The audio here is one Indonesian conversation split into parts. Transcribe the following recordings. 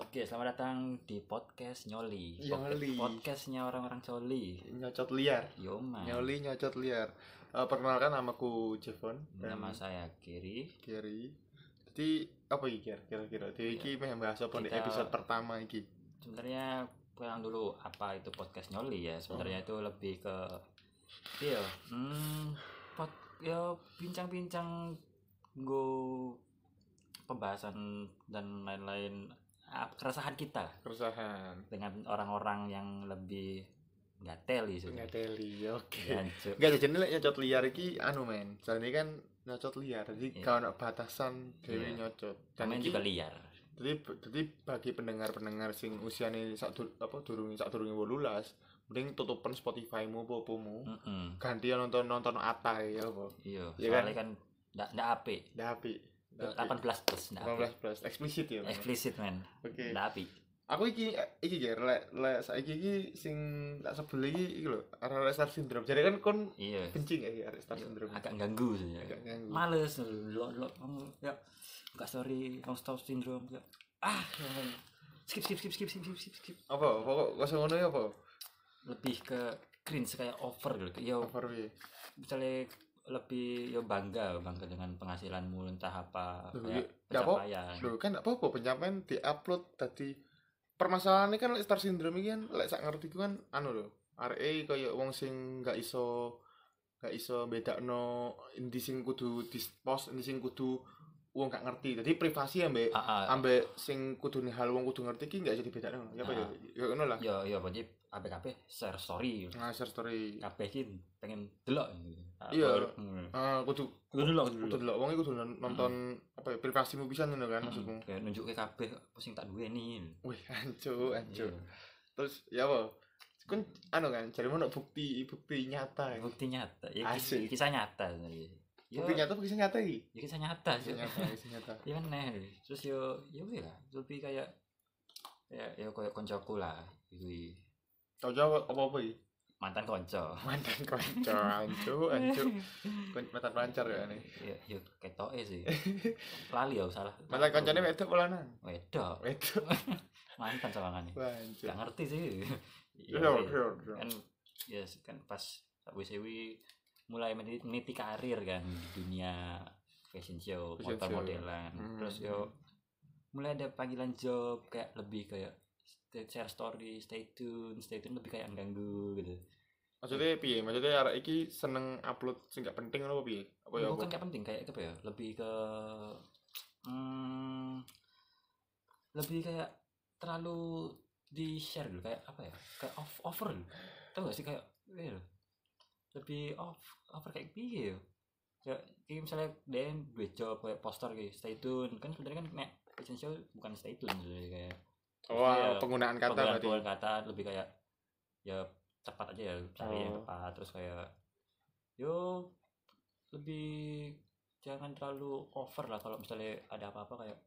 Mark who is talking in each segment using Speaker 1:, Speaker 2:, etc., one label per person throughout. Speaker 1: Oke, selamat datang di podcast Nyoli.
Speaker 2: Iya, Nyoli.
Speaker 1: Podcastnya orang-orang Coli.
Speaker 2: nyocot liar
Speaker 1: Yoma.
Speaker 2: nyoli nyocot liar Eh, perkenalkan namaku Jevon dan
Speaker 1: Hmm. Nama saya Kiri.
Speaker 2: Gary jadi apa iki Ger, kira-kira jadi iki pengen bahas apa nih
Speaker 1: Iya. Kita-
Speaker 2: episode pertama iki
Speaker 1: Sebenarnya kurang dulu apa itu podcast Nyoli ya. Sebenarnya
Speaker 2: Oh.
Speaker 1: itu lebih ke iya, hmm, pot ya bincang-bincang nggo pembahasan dan lain-lain ah, keresahan kita
Speaker 2: keresahan
Speaker 1: dengan orang-orang yang lebih nggak teli sebenarnya.
Speaker 2: ngeteli oke
Speaker 1: Jancuk.
Speaker 2: enggak jadi lek nyocot liar iki anu men soalnya kan nyocot liar
Speaker 1: Iya.
Speaker 2: jadi gak ada batasan
Speaker 1: Iya.
Speaker 2: dari nyocot
Speaker 1: Namanya
Speaker 2: iki-
Speaker 1: juga liar.
Speaker 2: jadi jadi bagi pendengar-pendengar sing usiane sak dur, apa durung sak durunge 18 mending tutupan Spotify-mu apa opomu
Speaker 1: Mm-mm.
Speaker 2: ganti nonton nonton atai apa
Speaker 1: Iya,
Speaker 2: Iya
Speaker 1: soalnya kan ndak ndak apik.
Speaker 2: Dapi.
Speaker 1: 18 plus ndak apik.
Speaker 2: 18 plus eksplisit ya. Mas?
Speaker 1: Eksplisit men.
Speaker 2: Oke.
Speaker 1: Ndak apik.
Speaker 2: Aku iki iki ger lek lek saiki iki sing tak sebel iki iki lho, Red Star Syndrome. Jadi kan kon
Speaker 1: Iya.
Speaker 2: benci gak ya Red Star Syndrome?
Speaker 1: Agak ganggu saja.
Speaker 2: Agak ganggu.
Speaker 1: Males lo lo kamu ya. Enggak sorry, kamu stop syndrome ya. Ah, ya ampun. skip skip skip skip skip skip skip. skip.
Speaker 2: Apa? Pokok kosong ngono ya apa?
Speaker 1: Lebih ke cringe kayak over gitu. Ya
Speaker 2: Over piye?
Speaker 1: misalnya lebih ya bangga bangga dengan penghasilanmu entah apa kayak
Speaker 2: Loh, ya, ya, kok.
Speaker 1: pencapaian.
Speaker 2: Lho kan gak apa-apa pencapaian di-upload dadi permasalahannya kan lek Star Syndrome iki kan lek sak ngerti kan anu lho, RE koyo wong sing gak iso gak iso bedakno endi sing kudu dispos, endi sing kudu wong gak ngerti. Jadi privasi ambek
Speaker 1: Ah, ah,
Speaker 2: ambek sing kudune hal wong kudu ngerti ki enggak jadi bedakno. Ya apa ya? Ya ngono lah.
Speaker 1: ya ya wajib ABKP share story.
Speaker 2: Ngasar story.
Speaker 1: kabeh iki pengen delok gitu.
Speaker 2: Iya.
Speaker 1: Hmm.
Speaker 2: Ah kudu
Speaker 1: Kudu delok kudu
Speaker 2: kudu
Speaker 1: delok.
Speaker 2: delok wong iki kudu non- nonton apa ya privasimu pisan ngono kan maksudmu.
Speaker 1: Hmm, Kayak nunjukke kabeh apa sing tak duweni. Iya.
Speaker 2: Wih, ancu, ancu. Terus ya apa? Kan anu kan jarimu nak bukti bukti nyata.
Speaker 1: Iya.
Speaker 2: ya.
Speaker 1: Bukti nyata. Ya ki-
Speaker 2: Asik.
Speaker 1: kisah nyata sebenarnya. Yo,
Speaker 2: Bukti Ah, nyata bukti nyata iki.
Speaker 1: ya kisah nyata sih.
Speaker 2: Bukti nyata, bukti nyata.
Speaker 1: Ya meneh. Terus yo yo kuwi lah, lebih kayak kayak ya kayak koncoku lah iki.
Speaker 2: Tau jawab apa-apa iki?
Speaker 1: Mantan konco.
Speaker 2: Mantan kanca, ancu, ancu. Kon- Mantan pancar Oh, ya nih.
Speaker 1: Ya yo ketoke sih. Lali ya salah.
Speaker 2: Mantan kancane wedok apa lanang?
Speaker 1: wedok.
Speaker 2: Wedok.
Speaker 1: Mantan sawangane.
Speaker 2: Wah, ancu.
Speaker 1: Gak ngerti sih. Iya,
Speaker 2: Yo,
Speaker 1: iya.
Speaker 2: yo, yo.
Speaker 1: kan yes kan pas wis ewi mulai meniti, meniti karir kan di dunia fashion show
Speaker 2: Fashion
Speaker 1: motor
Speaker 2: show.
Speaker 1: modelan
Speaker 2: Hmm.
Speaker 1: terus yo mulai ada panggilan job kayak lebih kayak stay- share story stay tune stay tune lebih kayak ganggu gitu
Speaker 2: Maksudnya
Speaker 1: Hmm.
Speaker 2: piye? Maksudnya arek iki seneng upload sing gak penting ngono apa piye? Apa ya?
Speaker 1: bukan
Speaker 2: apa?
Speaker 1: kayak penting kayak apa ya lebih ke hmm, lebih kayak terlalu di share dulu kayak apa ya kayak off over dulu tau gak sih kayak iya loh. lebih off over kayak piye ya kayak, kayak misalnya dia duit job kayak poster gitu stay tune kan sebenarnya kan nek fashion show bukan stay tune sebenarnya kayak
Speaker 2: Oh,
Speaker 1: Iya.
Speaker 2: penggunaan
Speaker 1: penggunaan
Speaker 2: kata berarti.
Speaker 1: penggunaan kata lebih kayak ya cepat aja ya cari yang
Speaker 2: Oh.
Speaker 1: tepat terus kayak yo lebih jangan terlalu over lah kalau misalnya ada apa-apa kayak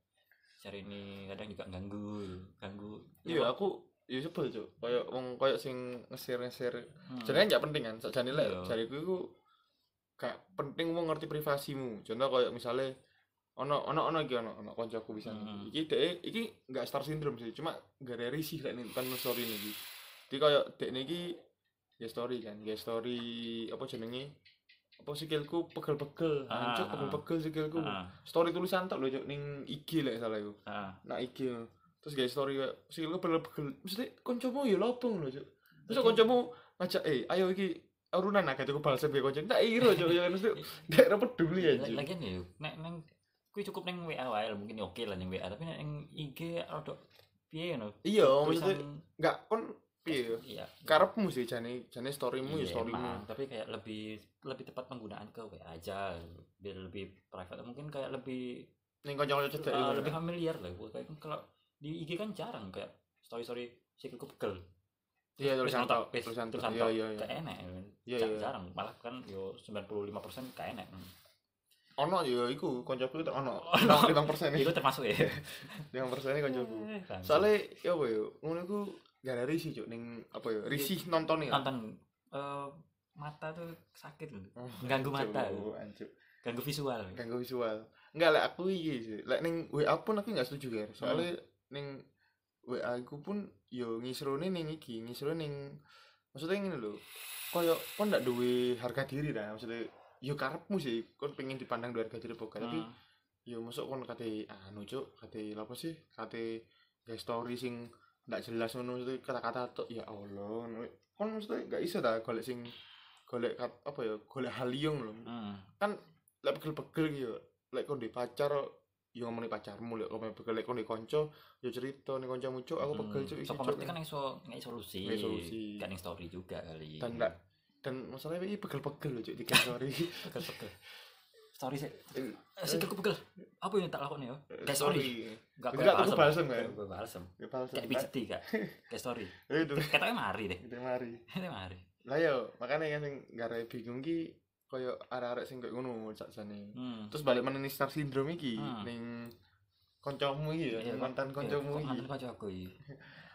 Speaker 1: cari ini kadang juga ganggu ganggu
Speaker 2: Iya, aku ya sebel cuk. Kayak wong kayak sing ngesir-ngesir.
Speaker 1: Hmm.
Speaker 2: Jane gak penting kan? Sakjane lek
Speaker 1: Iya.
Speaker 2: jariku iku gak penting wong ngerti privasimu. Contoh kayak misalnya ono ono ono iki ono ono koncoku bisa
Speaker 1: Hmm.
Speaker 2: iki dhek iki gak star syndrome sih cuma gak ada risih lek nih kan story niki jadi kayak dek niki ya story kan ya story apa jenenge apa sikilku pegel-pegel
Speaker 1: Ah,
Speaker 2: hancur
Speaker 1: ah.
Speaker 2: pegel-pegel sikilku
Speaker 1: Ah,
Speaker 2: story tulisan tok lho Cuk, ning IG lek salah iku
Speaker 1: ah.
Speaker 2: nak IG terus guys story kayak sikil gue pegel pegel mesti koncomu ya lopong loh cuk
Speaker 1: Iya.
Speaker 2: terus koncomu ngajak eh ayo iki urunan agak aku balas sampai konco tak iro cuk ya mesti tidak ada peduli ya
Speaker 1: Lagi-
Speaker 2: cuk
Speaker 1: lagian ya nek neng kui cukup neng WA wae lah, mungkin ya oke lah neng WA tapi nek neng IG rodok piye no
Speaker 2: iya maksudnya
Speaker 1: tulisan
Speaker 2: nggak kon piye
Speaker 1: iya
Speaker 2: karepmu sih jane jane storymu ya
Speaker 1: Iya,
Speaker 2: storymu
Speaker 1: emang. tapi kayak lebih lebih tepat penggunaan ke WA aja biar lebih private mungkin kayak lebih
Speaker 2: ning konco-konco cedek
Speaker 1: eh,
Speaker 2: iku.
Speaker 1: lebih familiar lah gue kayak kalau di IG kan jarang kayak story story sikilku pegel
Speaker 2: iya tulisan
Speaker 1: Wis,
Speaker 2: tok
Speaker 1: wis,
Speaker 2: tulisan tok
Speaker 1: tulisan
Speaker 2: iya
Speaker 1: tok.
Speaker 2: iya iya
Speaker 1: gak enak
Speaker 2: Iya,
Speaker 1: Jar-
Speaker 2: iya. Hmm.
Speaker 1: jarang malah kan yo 95% persen gak enak
Speaker 2: ono ya iku koncoku itu ono
Speaker 1: Ono.
Speaker 2: 5%
Speaker 1: itu
Speaker 2: persen
Speaker 1: termasuk ya
Speaker 2: 5% persen koncoku
Speaker 1: Eh, kan.
Speaker 2: soalnya ya apa ya ngono iku gak ada risih cuk ning apa ya risih nonton ya
Speaker 1: nonton eh, mata tuh sakit loh Ganggu mata.
Speaker 2: Cuk, anjuk.
Speaker 1: ganggu visual
Speaker 2: Eh, kan ganggu visual enggak lah aku iki sih lek ning WA pun aku enggak setuju ya soalnya ning WA ku pun yo ngisrone ning iki, ngisrone ning maksudnya ngene lho. Koyo kon ndak duwe harga diri lah, maksudnya yo karepmu sih kon pengen dipandang duwe harga diri apa gak, tapi
Speaker 1: Hmm.
Speaker 2: yo masuk kon kate anu cuk, kate apa sih? Kate gak story sing ndak jelas ngono maksudnya kata-kata tok ya Allah. ngono. Kon maksudnya gak iso ta golek sing golek kat- apa ya? Golek haliung lho.
Speaker 1: Hmm.
Speaker 2: lek pegel-pegel iki yo lek kon duwe pacar yo ngomongin pacarmu lek kon pegel lek kon duwe kanca yo cerita ning kancamu cuk aku pegel cuk iki
Speaker 1: So,
Speaker 2: cuk
Speaker 1: berarti Hmm, kan iso ngai solusi.
Speaker 2: Ngai solusi.
Speaker 1: Kan yang story juga kali.
Speaker 2: Dan nggak- dan masalahnya iki pegel-pegel lho cuk tiga sorry
Speaker 1: pegel-pegel. Story sih. Eh, Sik aku pegel. Apa yang tak lakoni yo? Kayak story.
Speaker 2: Eh, sorry
Speaker 1: Enggak
Speaker 2: Enggak, aku balsem, kan?
Speaker 1: Gue balsem.
Speaker 2: ya palsu
Speaker 1: Kayak pijeti kak. Kayak story.
Speaker 2: Eh, itu
Speaker 1: Katanya mari deh.
Speaker 2: kita mari
Speaker 1: Katanya mari.
Speaker 2: lah yo makanya kan sing gara bingung ki koyo arek-arek sing koyo ngono sakjane
Speaker 1: Hmm.
Speaker 2: terus balik meneh star syndrome iki
Speaker 1: Hmm.
Speaker 2: ning kancamu iki ya
Speaker 1: Iya,
Speaker 2: mantan
Speaker 1: kok- iya,
Speaker 2: kancamu
Speaker 1: kok
Speaker 2: iki
Speaker 1: Mantan kanca aku iki.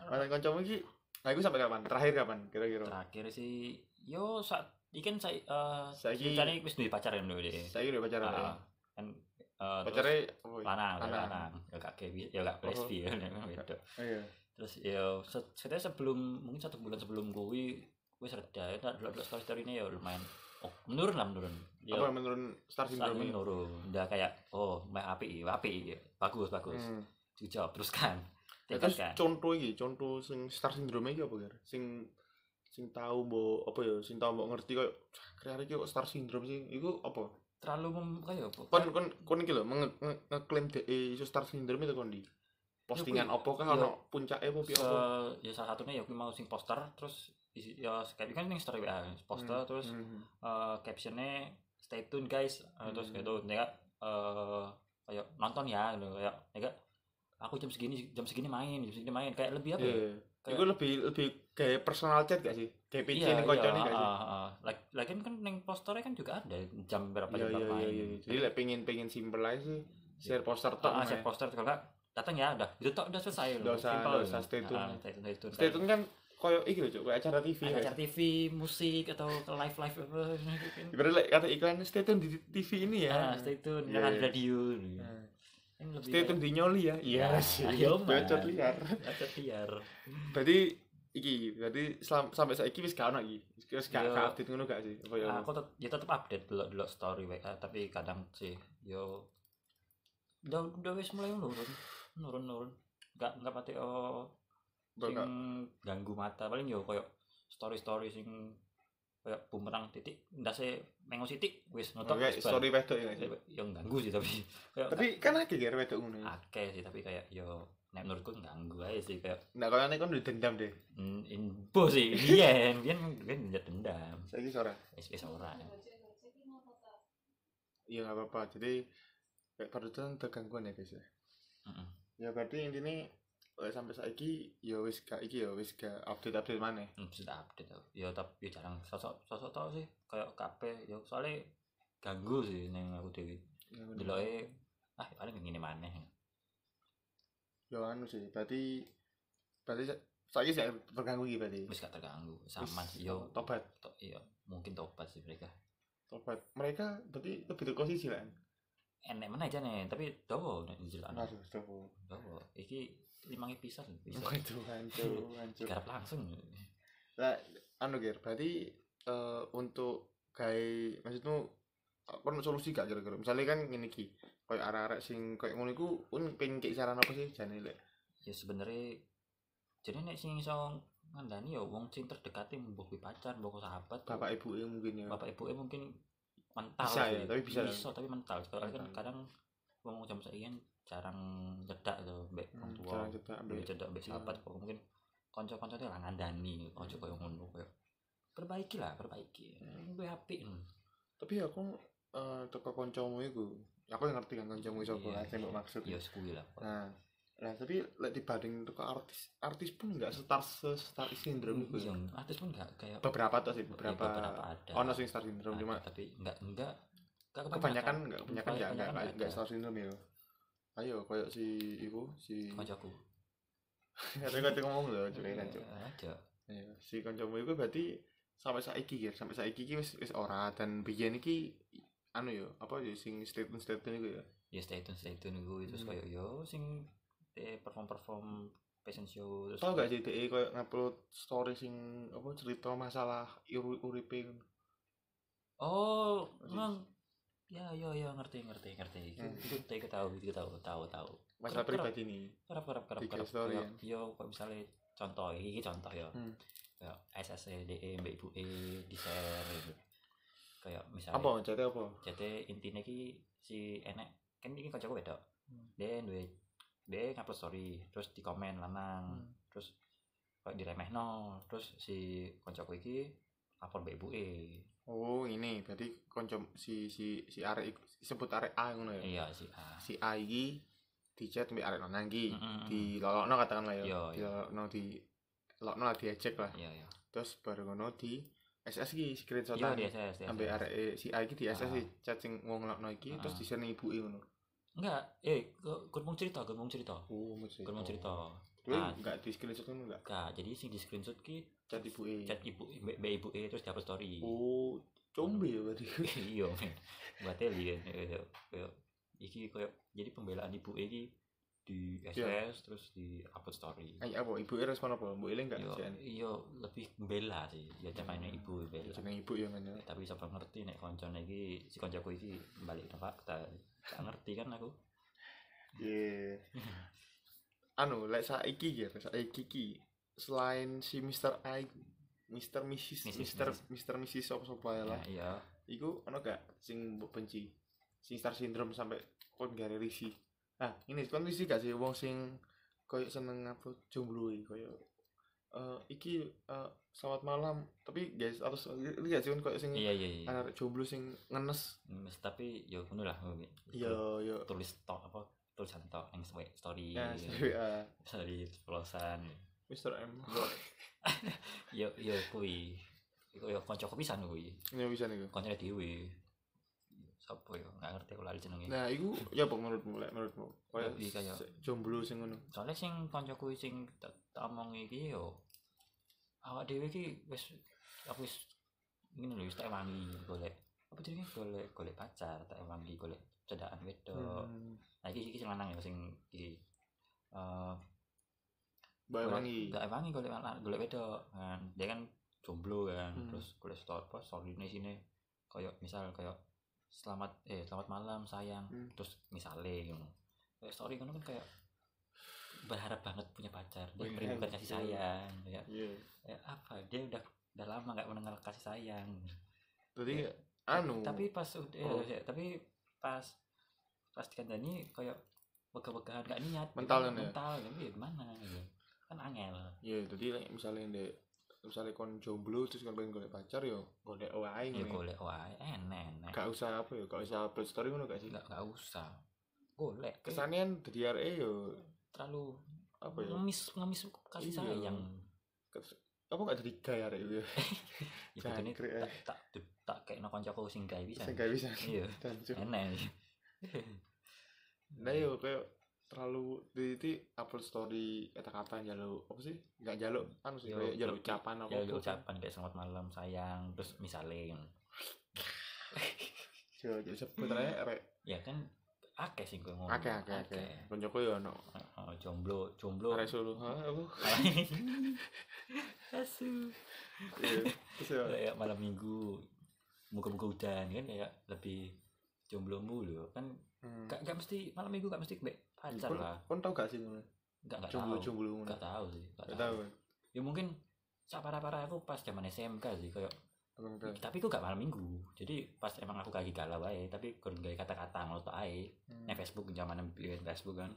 Speaker 2: mantan kancamu iki Nah, iku sampai kapan? Terakhir kapan? Kira-kira.
Speaker 1: Terakhir sih yo saat iki kan saya eh
Speaker 2: Saiki-
Speaker 1: ceritanya wis duwe pacar kan dulu deh.
Speaker 2: Saya udah pacaran. ya?
Speaker 1: Ah, Kan eh, terus
Speaker 2: Pacarnya apa?
Speaker 1: lanang, ya,
Speaker 2: lanang.
Speaker 1: lanang. Ya gak kayak ya gak
Speaker 2: Oh.
Speaker 1: lesbi ya nek wedok.
Speaker 2: Oh, iya.
Speaker 1: terus ya se- sebenarnya sebelum mungkin satu bulan sebelum kuwi wis reda ya tak delok story story ini ya lumayan oh menurun lah menurun ya
Speaker 2: apa yang menurun star
Speaker 1: saat
Speaker 2: syndrome ini?
Speaker 1: menurun udah kayak oh meh api api bagus bagus
Speaker 2: Hmm.
Speaker 1: dijawab teruskan kan?
Speaker 2: Ya, terus
Speaker 1: tingkatkan
Speaker 2: contoh iki, contoh sing star syndrome iki apa ya? Sing sing tahu mbok apa ya, sing tahu mbok ngerti koyo kreatif iki kok star syndrome sih. Iku apa?
Speaker 1: terlalu mem kayak apa ya,
Speaker 2: Kon kon kon iki lho menge- nge- ngeklaim dhek iso star syndrome itu kon di. Postingan
Speaker 1: Ya, kui-
Speaker 2: apa kah
Speaker 1: ya.
Speaker 2: ono puncake apa piye
Speaker 1: Se-
Speaker 2: apa?
Speaker 1: ya salah satunya ya aku mau sing poster terus isi- ya kayak kan ini story WA poster
Speaker 2: Hmm,
Speaker 1: terus
Speaker 2: hmm,
Speaker 1: eh, captionnya stay tune guys Eh, terus
Speaker 2: Hmm.
Speaker 1: kayak gitu ya eh kayak nonton ya gitu kayak ya nggak, aku jam segini jam segini main jam segini main kayak lebih apa ya?
Speaker 2: Iya.
Speaker 1: Kayak-
Speaker 2: Iku lebih lebih gaya personal chat gak sih? Gaya PC ning koncone gak sih?
Speaker 1: Iya, ah, ah. Lag- lagian kan neng posternya kan juga ada jam berapa
Speaker 2: Iya
Speaker 1: jam
Speaker 2: iya
Speaker 1: berapa
Speaker 2: iya
Speaker 1: main.
Speaker 2: iya. Jadi lek pengen pengen simple aja sih. Share poster tok.
Speaker 1: Ah, ah,
Speaker 2: meh.
Speaker 1: share poster kalau nggak datang ya udah itu tok udah selesai
Speaker 2: Udah usah-
Speaker 1: Simple
Speaker 2: udah
Speaker 1: gitu.
Speaker 2: usah stay tune.
Speaker 1: Ah, stay tune stay tune
Speaker 2: Stay tune kan koyo iki lho, Cuk, koyo acara TV.
Speaker 1: Kayak
Speaker 2: ya.
Speaker 1: acara TV, musik atau ke live live apa gitu.
Speaker 2: Ibarat like kata iklan stay tune di TV ini
Speaker 1: Ah,
Speaker 2: ya.
Speaker 1: stay tune,
Speaker 2: Iya,
Speaker 1: jangan
Speaker 2: iya.
Speaker 1: radio. gitu.
Speaker 2: Nah,
Speaker 1: Kan lebih
Speaker 2: Stay tune di nyoli ya.
Speaker 1: Ah,
Speaker 2: Iya sih.
Speaker 1: iya, Mas.
Speaker 2: Bocor liar.
Speaker 1: kayak acara liar.
Speaker 2: Berarti iki, berarti selam, sampai saiki wis gak ono iki. Wis gak
Speaker 1: Yo.
Speaker 2: gak update ngono gak sih? Apa ya?
Speaker 1: aku tet ya tetap update dulu dulu story WA tapi kadang sih yo udah udah wis mulai nurun nurun nurun nggak nggak pati oh
Speaker 2: Nggak,
Speaker 1: sing
Speaker 2: nggak.
Speaker 1: ganggu mata paling yo koyo story story sing koyo bumerang titik ndase mengo titik wis notok
Speaker 2: Oke,
Speaker 1: wis
Speaker 2: story wedok ya. gak sih?
Speaker 1: bal. yo ganggu sih tapi koyo
Speaker 2: Tapi kan akeh ya wedok ngono. ya.
Speaker 1: akeh sih tapi kayak yo nek menurutku ganggu aja sih kayak
Speaker 2: Nah, kalau nek kon duwe dendam deh.
Speaker 1: mm, imbo sih biyen biyen kan njet dendam
Speaker 2: Saiki sore.
Speaker 1: wis wis ora
Speaker 2: Iya gak apa-apa. Jadi kayak parutan tergangguan ya guys ya.
Speaker 1: Heeh.
Speaker 2: Ya berarti intinya eh, sampai saiki ya wis gak iki ya wis gak update-update maneh.
Speaker 1: Hmm, sudah update tau. Ya tapi jarang sosok sosok tau sih kayak kabeh ya soalnya ganggu sih neng aku dhewe.
Speaker 2: Ya, bener.
Speaker 1: Deloke ah paling ngene maneh.
Speaker 2: Yo anu sih, berarti berarti sa- saiki saya terganggu iki berarti.
Speaker 1: Wis gak terganggu sama
Speaker 2: Wis,
Speaker 1: sih yo
Speaker 2: tobat,
Speaker 1: to- iya mungkin tobat sih mereka.
Speaker 2: tobat. Mereka berarti lebih ke posisi lah.
Speaker 1: Enek mana aja nih, tapi dawa nek njelok.
Speaker 2: Aduh, coba.
Speaker 1: Dawa. Iki limangi pisan, bisa
Speaker 2: Waduh, hancur, hancur.
Speaker 1: garap langsung.
Speaker 2: Lah, anu Ger, berarti eh, untuk gawe maksudmu apa solusi gak kira-kira? Misalnya kan ngene iki, koyo arek-arek sing koyo ngono iku un pengen kayak saran apa sih jane lek?
Speaker 1: Ya sebenarnya jadi nek sing iso ngandani yo wong sing terdekati mbok kuwi pacar, mbok kuwi sahabat.
Speaker 2: Bapak ibuke mungkin ya.
Speaker 1: bapak ibu mungkin mental
Speaker 2: Bisa
Speaker 1: sih.
Speaker 2: ya, tapi bisa.
Speaker 1: tapi mental soalnya kan
Speaker 2: Mental.
Speaker 1: kadang ngomong jam sekian jarang cedak tuh mbek orang
Speaker 2: Hmm,
Speaker 1: tua
Speaker 2: Jarang cetak
Speaker 1: mbek
Speaker 2: ambek.
Speaker 1: cedak mbek
Speaker 2: iya.
Speaker 1: sahabat kok mungkin kanca-kanca itu lah ngandani ojo koyo ngono koyo perbaiki lah perbaiki
Speaker 2: Hmm.
Speaker 1: gue apik
Speaker 2: Tapi aku eh teko kancamu iku, aku yang ngerti kan kancamu
Speaker 1: Iya,
Speaker 2: sapa, sing mbok maksud.
Speaker 1: ya sekuwi lah pokoknya.
Speaker 2: Nah, nah tapi lek dibanding untuk artis, artis pun nggak setar se star syndrome itu.
Speaker 1: Iya, artis pun enggak kayak
Speaker 2: Beberapa tuh sih,
Speaker 1: Iya,
Speaker 2: beberapa.
Speaker 1: beberapa ada
Speaker 2: Ono sing star syndrome
Speaker 1: Ada,
Speaker 2: cuma
Speaker 1: tapi enggak enggak enggak
Speaker 2: Nah, kebanyakan nggak kebanyakan ya nggak
Speaker 1: Kebanyakan
Speaker 2: nggak- nggak
Speaker 1: ada.
Speaker 2: star syndrome ya. Ayo, koyok si Ibu, si
Speaker 1: Kancaku.
Speaker 2: katanya katanya ngomong loh, cuy kan cuy.
Speaker 1: Aja.
Speaker 2: Iya, Si kancamu itu berarti sampai saiki ya, sampai saiki iki wis wis ora dan biyen iki anu ya, apa ya sing statement statement itu ya.
Speaker 1: ya stay tune stay tune gue terus
Speaker 2: Hmm.
Speaker 1: kayak yo sing perform perform fashion show terus
Speaker 2: tau gak sih DE kayak ngupload story sing apa cerita masalah uri uripe ngono.
Speaker 1: oh
Speaker 2: Masih.
Speaker 1: emang ya ya ya ngerti ngerti ngerti itu
Speaker 2: Hmm.
Speaker 1: itu itu tahu itu tahu tahu tahu
Speaker 2: masalah
Speaker 1: Kerap- kerap-
Speaker 2: pribadi nih
Speaker 1: kerap kerap kerap
Speaker 2: Tiga
Speaker 1: kerap
Speaker 2: story, ya?
Speaker 1: kerap yo kok misalnya contoh ini contoh ya
Speaker 2: Hmm.
Speaker 1: kayak SSDE mbak ibu e di share gitu. kayak misalnya
Speaker 2: apa jadi apa
Speaker 1: jadi intinya ki si enek kan ini kocokku beda
Speaker 2: Hmm.
Speaker 1: dia duwe dia ngupload story terus di komen
Speaker 2: Hmm.
Speaker 1: lanang terus kok diremehno terus si kocokku iki lapor mbak ibu e
Speaker 2: oh ini berarti konco si si si arek iku- sebut arek A ngono ya
Speaker 1: iya si A
Speaker 2: si A iki di chat mbek arek lanang iki
Speaker 1: Mm-mm.
Speaker 2: di lolokno katakanlah ya
Speaker 1: Yo,
Speaker 2: di
Speaker 1: yo.
Speaker 2: lolokno di lolokno lah diejek lah
Speaker 1: iya iya
Speaker 2: terus baru ngono di SS iki
Speaker 1: iya
Speaker 2: screenshotan
Speaker 1: di SS di
Speaker 2: ambek
Speaker 1: SS.
Speaker 2: arek e- si A iki di SS
Speaker 1: Ah.
Speaker 2: di chat sing wong lolokno iki terus
Speaker 1: Ah.
Speaker 2: di share ibuke ngono
Speaker 1: enggak eh gue mau cerita gue mau cerita
Speaker 2: oh mau cerita
Speaker 1: gue mau cerita
Speaker 2: Lu
Speaker 1: Ah.
Speaker 2: enggak di screenshot ngono enggak
Speaker 1: enggak jadi sing di screenshot ki
Speaker 2: chat ibuke
Speaker 1: chat ibu mbak mbak ibu e terus dapet story
Speaker 2: oh combe ya berarti
Speaker 1: iya men buat Eli ya kayak kayak iki kayak jadi pembelaan ibu iki di SS
Speaker 2: Iya.
Speaker 1: terus di upload story
Speaker 2: Ay, apa ibuke respon apa mbok eling enggak
Speaker 1: iya
Speaker 2: jan
Speaker 1: iya lebih membela sih ya
Speaker 2: Hmm.
Speaker 1: caranya ibu bela
Speaker 2: jeneng ibu ya men ya.
Speaker 1: Eh, tapi siapa ngerti nek koncon iki si koncoku iki balik ke fakta gak ngerti kan aku
Speaker 2: Yeah. Iya. anu, lek saiki ya, lek saiki ki selain si Mr. I Mr. Mrs.
Speaker 1: Mrs.,
Speaker 2: Mr. Mr. Mrs. sop sop
Speaker 1: ya,
Speaker 2: ae lah.
Speaker 1: iya
Speaker 2: Iku ono gak sing mbok benci? Sing star syndrome sampe kon gare risi. Nah, ini kon risi gak sih wong sing koyo seneng apa jomblo iki koyo eh iki eh, selamat malam tapi guys harus ini gak sih kon koyo sing
Speaker 1: iya iya iya
Speaker 2: anak jomblo sing ngenes Iya,
Speaker 1: Mas, tapi yo ngono lah
Speaker 2: yo yo
Speaker 1: tulis tok apa tulisan tok yang story
Speaker 2: ya sorry, eh,
Speaker 1: story pelosan
Speaker 2: Mr. M
Speaker 1: yo yo kui iku yo koncoku pisan kui
Speaker 2: ini bisa nih
Speaker 1: konconya dewe sapa yo nggak ngerti aku lali jenenge
Speaker 2: Nah, iku ya apa menurutmu lek menurutmu? Kayak
Speaker 1: Lebih iya, kayak-
Speaker 2: se- jomblo sing ngono.
Speaker 1: soalnya sing koncoku sing tak tak omong iki yo awak dhewe iki wis aku wis ngene lho wis tak wangi golek apa jenenge golek golek pacar tak wangi golek cedaan wedok
Speaker 2: Hmm.
Speaker 1: nah iki iki sing lanang ya sing iki eh
Speaker 2: Bae wangi.
Speaker 1: gak wangi golek lan- golek wedok kan dia kan jomblo kan
Speaker 2: Hmm.
Speaker 1: terus golek store apa story ini sini kayak misal kayak selamat eh selamat malam sayang
Speaker 2: Hmm.
Speaker 1: terus misalnya gitu kayak story kan kan kayak berharap banget punya pacar dia
Speaker 2: Wih, eh, gitu.
Speaker 1: merindukan kasih
Speaker 2: betul.
Speaker 1: sayang ya,
Speaker 2: Iya.
Speaker 1: ya apa dia udah udah lama nggak mendengar kasih sayang
Speaker 2: Jadi
Speaker 1: Ya.
Speaker 2: anu.
Speaker 1: tapi pas udah eh,
Speaker 2: Oh.
Speaker 1: ya, tapi pas pas dikandani kayak wegah-wegahan gak niat
Speaker 2: Mental kan ya?
Speaker 1: mental ya iya, gimana gitu. kan angel
Speaker 2: iya, jadi lek misale ndek misale kon jomblo terus kon pengen golek pacar yo golek wae
Speaker 1: ya
Speaker 2: ngene.
Speaker 1: golek wae enek enek
Speaker 2: Gak usah apa ya, gak usah upload story ngono gak sih? kan
Speaker 1: nggak nggak usah golek kayak
Speaker 2: Kesanian dari RE e yo
Speaker 1: terlalu
Speaker 2: apa ya?
Speaker 1: ngemis ngemis kasih
Speaker 2: Iya.
Speaker 1: sayang
Speaker 2: kes- Apa gak jadi gay arek yo?
Speaker 1: ya betulnya
Speaker 2: Jangkrik, eh.
Speaker 1: tak tak tak kayak nonton jago sing gawe bisa
Speaker 2: Sing gak bisa.
Speaker 1: iya
Speaker 2: Dan cu-
Speaker 1: enak
Speaker 2: Nah yo kayak terlalu di di upload story kata-kata jaluk apa sih? Gak jaluk anu sih
Speaker 1: Yo,
Speaker 2: kayak jaluk
Speaker 1: lebih-
Speaker 2: ucapan apa.
Speaker 1: ya lu ucapan kayak selamat malam sayang terus misalnya
Speaker 2: Yo, jadi hmm. sebenarnya RE
Speaker 1: ya kan akeh sih gue ngomong
Speaker 2: Oke oke oke. Konjoku yo ono.
Speaker 1: Oh, jomblo jomblo
Speaker 2: Arek Solo. Ha, apa?
Speaker 1: asu
Speaker 2: Iya. Terus yo.
Speaker 1: kayak malam minggu muka-muka udan kan kayak lebih jomblo mulu kan
Speaker 2: Hmm.
Speaker 1: gak, gak mesti malam minggu gak mesti mbek pacar
Speaker 2: Kon-
Speaker 1: lah
Speaker 2: Kon tau gak sih ngono?
Speaker 1: gak gak tahu
Speaker 2: Jomblo-jomblo ngono.
Speaker 1: gak tahu sih
Speaker 2: Gak
Speaker 1: gak
Speaker 2: tau.
Speaker 1: tahu ya mungkin sak parah parah aku pas zaman SMK sih kayak
Speaker 2: Oke.
Speaker 1: tapi aku gak malam minggu jadi pas emang aku kaki galau aja tapi kurang gak kata-kata ngotot aja
Speaker 2: Hmm,
Speaker 1: nah Facebook zaman bikin Facebook kan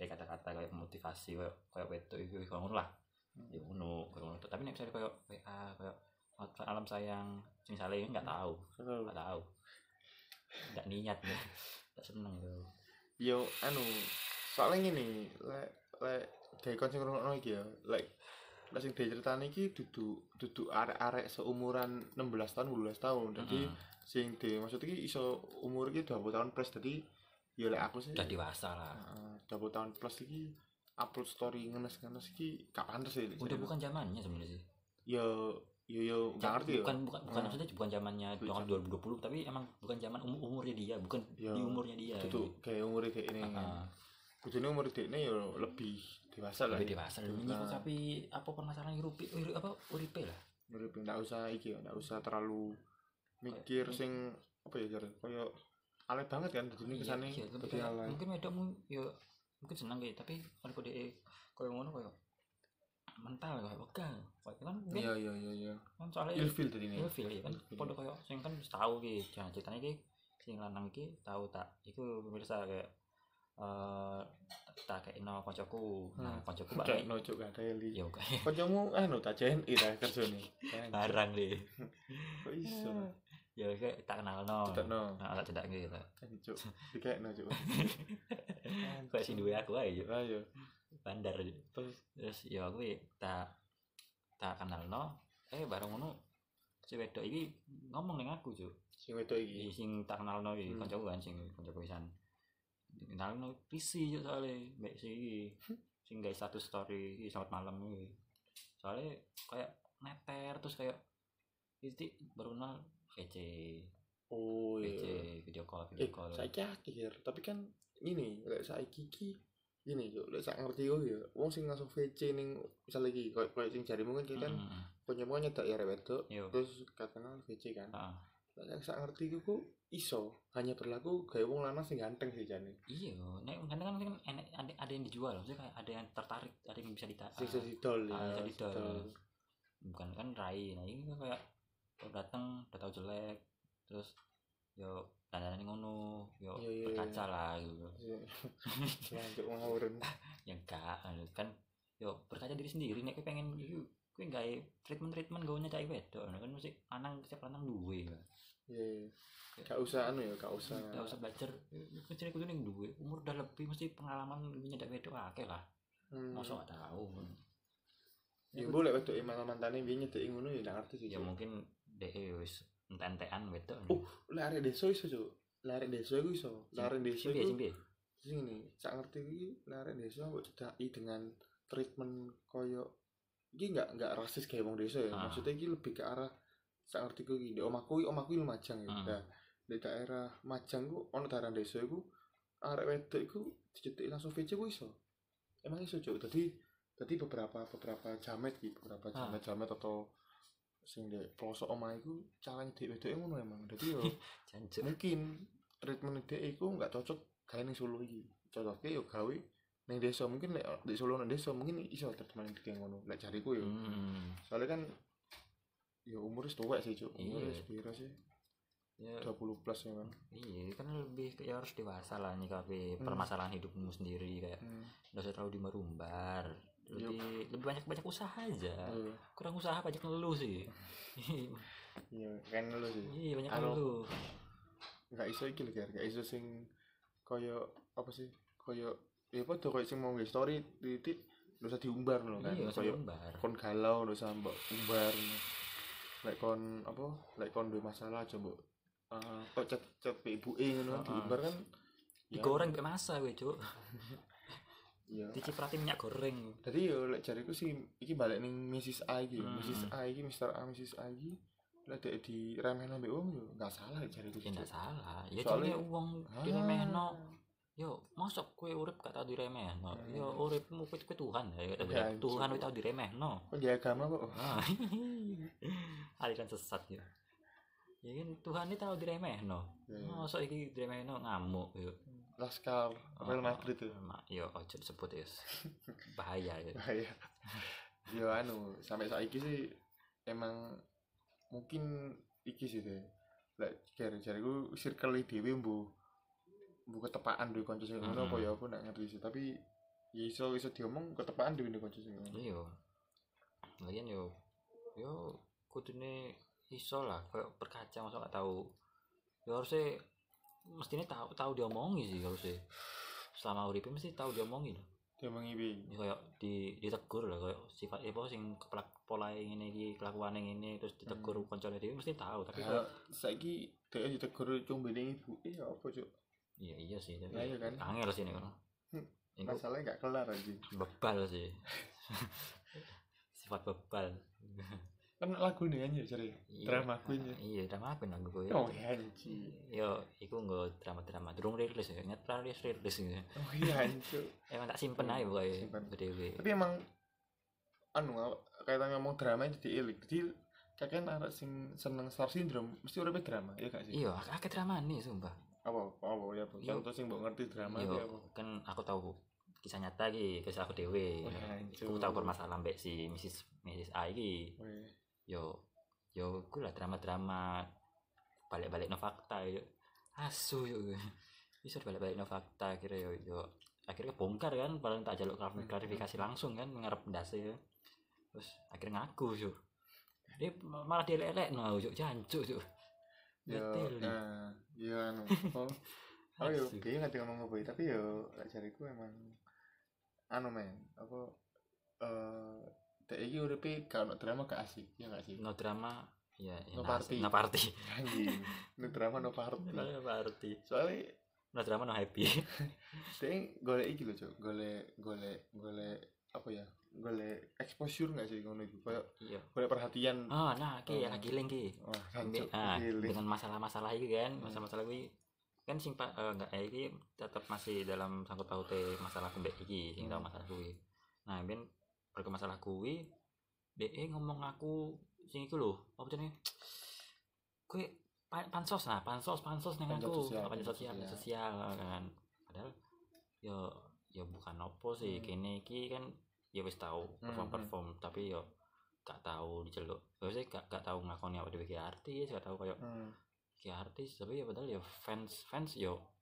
Speaker 1: kayak kata-kata kayak motivasi kayak kayak wetu itu kayak ngono lah
Speaker 2: hmm.
Speaker 1: ya ngono kayak ngono tapi nek misalnya kayak WA kayak "Selamat malam sayang misalnya ini nggak tahu nggak tahu nggak niat ya nggak seneng tuh
Speaker 2: Yo anu, soalnya ngene, lek lek gawe kon sing ngrungokno iki ya, lek lek sing diceritani iki dudu dudu arek-arek seumuran 16 tahun 18 tahun. Jadi
Speaker 1: Mm-mm.
Speaker 2: sing di maksud iki iso umur iki 20 tahun plus. Jadi yo lek aku sih
Speaker 1: udah dewasa lah
Speaker 2: Heeh, double Ah, tahun plus iki upload story ngenes-ngenes iki gak pantes sih.
Speaker 1: udah bukan zamannya sebenarnya sih
Speaker 2: Ya yo yo gak ngerti ya.
Speaker 1: bukan bukan bukan
Speaker 2: Hmm.
Speaker 1: maksudnya bukan zamannya
Speaker 2: Bukan.
Speaker 1: tahun 2020 tapi emang bukan zaman umur umurnya dia bukan
Speaker 2: Ya,
Speaker 1: di umurnya dia gitu.
Speaker 2: Itu kayak umur dhekne.
Speaker 1: Heeh.
Speaker 2: Kudune umur dhekne yo lebih dewasa lah ya. Nah.
Speaker 1: lebih dewasa lebih
Speaker 2: Dewasa.
Speaker 1: menyikapi apa permasalahan urupi uri- apa uripe lah
Speaker 2: Urip ndak usah iki ya, ndak usah terlalu mikir
Speaker 1: Kayak-
Speaker 2: sing apa ya jare koyo alay banget kan
Speaker 1: Iya,
Speaker 2: dadi kesane
Speaker 1: iya, lebih
Speaker 2: dadi
Speaker 1: kayak-
Speaker 2: alay.
Speaker 1: mungkin wedok mu ya mungkin seneng kayak tapi kalau kode koyo ngono koyo mental koyo pegang koyo kan
Speaker 2: Iya iya iya iya.
Speaker 1: kan soalnya
Speaker 2: Ilfil dadi ini.
Speaker 1: ilfil ya kan
Speaker 2: Ilfil.
Speaker 1: podo koyo sing kan wis tau ki jangan ceritanya ki sing lanang iki tau tak iku pemirsa kayak eh tak kayak no koncoku nah
Speaker 2: Hmm.
Speaker 1: koncoku
Speaker 2: Udah
Speaker 1: balik
Speaker 2: nojuk gak ada eli.
Speaker 1: ya oke
Speaker 2: Kancamu anu tak JNI ta kerjane.
Speaker 1: barang deh
Speaker 2: Kok iso?
Speaker 1: ya kayak tak kenal no
Speaker 2: Cedekno.
Speaker 1: nah tak cedak gitu
Speaker 2: Kan, Cuk. Dikekno cuk.
Speaker 1: kayak si duwe aku aja
Speaker 2: Ayo.
Speaker 1: bandar terus terus ya aku ya tak tak kenal no eh bareng ngono si wedok iki ngomong ning aku cuy
Speaker 2: Sing wedok
Speaker 1: Iki
Speaker 2: iki.
Speaker 1: sing tak kenal no iki
Speaker 2: Hmm.
Speaker 1: kancaku kan sing kancaku pisan kenal no PC cuy soalnya mbak si iki sing guys satu story iki selamat malam iki soalnya kayak neter terus kayak itu baru kenal VC
Speaker 2: Oh
Speaker 1: VC
Speaker 2: iya.
Speaker 1: video call video
Speaker 2: Eh,
Speaker 1: call
Speaker 2: saiki akhir, tapi kan ini lek saiki iki ini yo lek sak ngerti yo ya wong sing langsung VC ning misal iki koyo koyo sing jarimu kan kayak kan
Speaker 1: Mm,
Speaker 2: penyemuan nyedak ya rewet tuh
Speaker 1: Yo.
Speaker 2: terus katanya VC kan
Speaker 1: ah,
Speaker 2: Lah, yang saya ngerti itu ku iso hanya berlaku gawe wong lanang sing ganteng sih jane
Speaker 1: iya nek kadang kan mungkin enek- ada ada yang dijual maksudnya kayak ada yang tertarik ada yang bisa ditarik
Speaker 2: sing iso didol
Speaker 1: ah,
Speaker 2: ya
Speaker 1: iso didol.
Speaker 2: didol.
Speaker 1: bukan kan rai nah ini kan kayak kalau datang udah tahu jelek terus yo dandanan ngono yo
Speaker 2: Iya, iya,
Speaker 1: berkaca lah gitu
Speaker 2: Iya, lanjut ngawurin
Speaker 1: ya enggak anu, kan yo berkaca diri sendiri nek kowe pengen yo kowe gawe treatment treatment gawe nyacai wedok anu, kan mesti anang siapa lanang duwe kan.
Speaker 2: iya iya. gak usah anu ya gak usah
Speaker 1: nggak usah belajar kecil kudu ning duwe umur udah lebih mesti pengalaman nyedak wedok akeh lah
Speaker 2: Hmm.
Speaker 1: masa gak kan. tahu
Speaker 2: ya boleh e waktu mantan mantannya biar nyetek ngono ya gak ngerti sih
Speaker 1: ya mungkin deh wis entek-entekan wedok
Speaker 2: Oh, lari desa iso cuk lari desa itu iso lari
Speaker 1: Sing
Speaker 2: desa
Speaker 1: piye, sing
Speaker 2: itu
Speaker 1: piye?
Speaker 2: sing ini saya ngerti iki lari desa kok didai dengan treatment koyo iki nggak nggak rasis kayak wong desa ya
Speaker 1: Ah.
Speaker 2: maksudnya iki lebih ke arah saya ngerti ku iki di omaku omaku iki lumajang ya
Speaker 1: Hmm.
Speaker 2: nah di daerah majang ku ono daerah desa iku arek wedok iku dicetik langsung VC ku iso emang iso cuk tadi tadi beberapa beberapa jamet gitu beberapa
Speaker 1: Ah.
Speaker 2: jamet jamet atau sing di pelosok omah iku calon dhewe wedoke e ngono emang dadi yo
Speaker 1: Jancuk.
Speaker 2: mungkin treatment dia itu nggak cocok gawe ning Solo iki cocoknya yo gawe ning desa mungkin lek di Solo ning desa mungkin iso treatment dia ngono lek jariku yo
Speaker 1: Hmm.
Speaker 2: soalnya kan ya umur wis tuwek sih cuk umur
Speaker 1: Iya.
Speaker 2: wis pira sih
Speaker 1: Ya,
Speaker 2: 20 plus ya kan
Speaker 1: iya kan lebih kayak harus dewasa lah nyikapi
Speaker 2: Hmm.
Speaker 1: permasalahan hidupmu sendiri kayak
Speaker 2: hmm.
Speaker 1: nggak usah terlalu dimerumbar lebih lebih banyak banyak usaha aja
Speaker 2: Iya.
Speaker 1: kurang usaha banyak ngeluh sih
Speaker 2: iya kan lo sih
Speaker 1: iya banyak
Speaker 2: Halo.
Speaker 1: ngeluh
Speaker 2: nggak iso iki lho nggak iso sing koyo apa sih koyo ya apa tuh koyo sing mau nge story titik nggak usah diumbar lho kan
Speaker 1: iya
Speaker 2: koyo
Speaker 1: merumbar
Speaker 2: kon galau nggak usah mbok umbar lek kon apa lek kon duwe masalah aja mbok eh, kok chat chat pe ibuke ngono kan
Speaker 1: Heeh.
Speaker 2: diumbar kan ya-
Speaker 1: digoreng pakai masa gue cuk
Speaker 2: iya
Speaker 1: dicipratin minyak goreng
Speaker 2: Jadi yo lek jariku sih iki balik ning Mrs. A iki,
Speaker 1: Hmm.
Speaker 2: Mrs. A iki, Mr. A, Mrs. A iki lek dek diremehno mbek wong yo enggak salah jariku.
Speaker 1: ya nggak salah ya soalnya
Speaker 2: Soalnya-
Speaker 1: uang
Speaker 2: Ah.
Speaker 1: diremehno yo masuk kue urip gak tau diremehno
Speaker 2: Hmm.
Speaker 1: yo uripmu kue kue Tuhan ya kata
Speaker 2: Ya,
Speaker 1: gue Tuhan
Speaker 2: cuk.
Speaker 1: kue tau diremehno
Speaker 2: Penjaga agama kok. Oh,
Speaker 1: Ah, aliran sesat ya ya kan Tuhan ini tau diremehno
Speaker 2: Ya, ya.
Speaker 1: masa iki diremehno ngamuk yo
Speaker 2: Laskar Real
Speaker 1: Ah,
Speaker 2: Madrid tuh.
Speaker 1: Ma- yo ojo disebut ya bahaya ya
Speaker 2: bahaya Ah, iya. ya anu sampai saiki sih emang mungkin iki sih deh lek jari jariku circle dhewe mbu mbu ketepaan duwe kanca sing ngono apa
Speaker 1: Mm-mm.
Speaker 2: ya aku ndak ngerti sih tapi ya iso iso diomong ketepaan duwe kanca sing ngono
Speaker 1: iya lagian yo yo kudune iso lah kayak berkaca masa gak tahu yo harusnya mestinya tahu tahu diomongi sih harusnya selama uripe mesti tahu diomongi loh
Speaker 2: diomongi piye
Speaker 1: ya kayak di ditegur lah kayak sifat ya pokoknya sing kepelak pola yang ini iki kelakuan yang ini terus ditegur
Speaker 2: Hmm.
Speaker 1: koncone dhewe mesti tahu tapi
Speaker 2: Nah,
Speaker 1: kayak
Speaker 2: saiki dhek ditegur cung bening ibu eh ya apa cuk
Speaker 1: iya iya sih tapi
Speaker 2: Lah, iya kan?
Speaker 1: angel sih ini kan
Speaker 2: Hmm,
Speaker 1: Iku
Speaker 2: masalahnya gak kelar aja
Speaker 1: bebal sih sifat bebal
Speaker 2: kan enak lagu nih anjir jare.
Speaker 1: Iya.
Speaker 2: Drama Queen ya.
Speaker 1: Iya, drama queen lagu gue.
Speaker 2: Oh iya, anjir.
Speaker 1: Yo, iku nggo drama-drama durung rilis ya, nyet rilis rilis gitu.
Speaker 2: Oh iya anjir.
Speaker 1: Emang tak simpen aja pokoknya
Speaker 2: Hmm. Simpen.
Speaker 1: dhewe.
Speaker 2: Tapi emang anu kaitannya ngomong drama jadi elik. Jadi kakek arek sing seneng star syndrome mesti uripe drama ya gak sih?
Speaker 1: Iya, ak- akeh drama nih sumpah.
Speaker 2: Apa apa ya apa?
Speaker 1: Iya.
Speaker 2: Contoh sing mbok ngerti drama ya
Speaker 1: Yo,
Speaker 2: apa?
Speaker 1: kan aku tahu kisah nyata iki, kisah aku dhewe.
Speaker 2: Wah, hancur.
Speaker 1: Aku tahu permasalahan mbek si Mrs. Mrs. A iki.
Speaker 2: Weh.
Speaker 1: Yo, yo iku lah drama-drama balik-balik no fakta yo. Asu yo. Bisa balik-balik no fakta kira yo yo. Akhirnya bongkar kan, padahal tak jaluk klarifikasi
Speaker 2: Hmm.
Speaker 1: klarifikasi langsung kan ngarep ndase yo. Terus akhirnya ngaku yo. Dia malah dielek-elek no yo, jancuk yo.
Speaker 2: Ya,
Speaker 1: Betul.
Speaker 2: nah, iya anu. Oh, oh yo,
Speaker 1: Asu.
Speaker 2: kayaknya ngerti ngomong apa ya, tapi yo lek jariku emang anu men, apa eh teh iki uripe gak ono drama gak asik, ya gak sih?
Speaker 1: no drama ya, ya
Speaker 2: No
Speaker 1: nah,
Speaker 2: party.
Speaker 1: no party
Speaker 2: Anjing, ini drama no party.
Speaker 1: no party
Speaker 2: Soalnya
Speaker 1: no drama no happy
Speaker 2: teh golek iki lho, Cuk. Golek golek golek apa ya? Golek exposure gak sih ngono iku? Kayak
Speaker 1: iya
Speaker 2: golek perhatian.
Speaker 1: oh nah ki
Speaker 2: Oh.
Speaker 1: lagi link ki
Speaker 2: Wah,
Speaker 1: Ambil-
Speaker 2: hancur.
Speaker 1: ah,
Speaker 2: Gile.
Speaker 1: dengan masalah-masalah itu kan
Speaker 2: Hmm.
Speaker 1: masalah-masalah gue kan sing pa- eh, enggak eh, iki tetap masih dalam sangkut pautnya masalah kumbek iki sing tau
Speaker 2: Hmm.
Speaker 1: masalah gue nah ben berkemasalah gue de ngomong aku sing iku lho apa jenenge gue pa- pansos nah pansos pansos neng
Speaker 2: Panjat
Speaker 1: aku
Speaker 2: sosial,
Speaker 1: apa panjat sosial
Speaker 2: panjat
Speaker 1: panjat sosial kan padahal yo yo bukan opo sih
Speaker 2: Hmm.
Speaker 1: kene iki kan ya wis tahu
Speaker 2: Hmm,
Speaker 1: perform
Speaker 2: hmm.
Speaker 1: perform tapi yo gak tahu diceluk terus gak gak tahu ngakoni apa dhewe ki artis gak tahu kayak
Speaker 2: Hmm,
Speaker 1: ki artis tapi ya padahal ya fans fans yo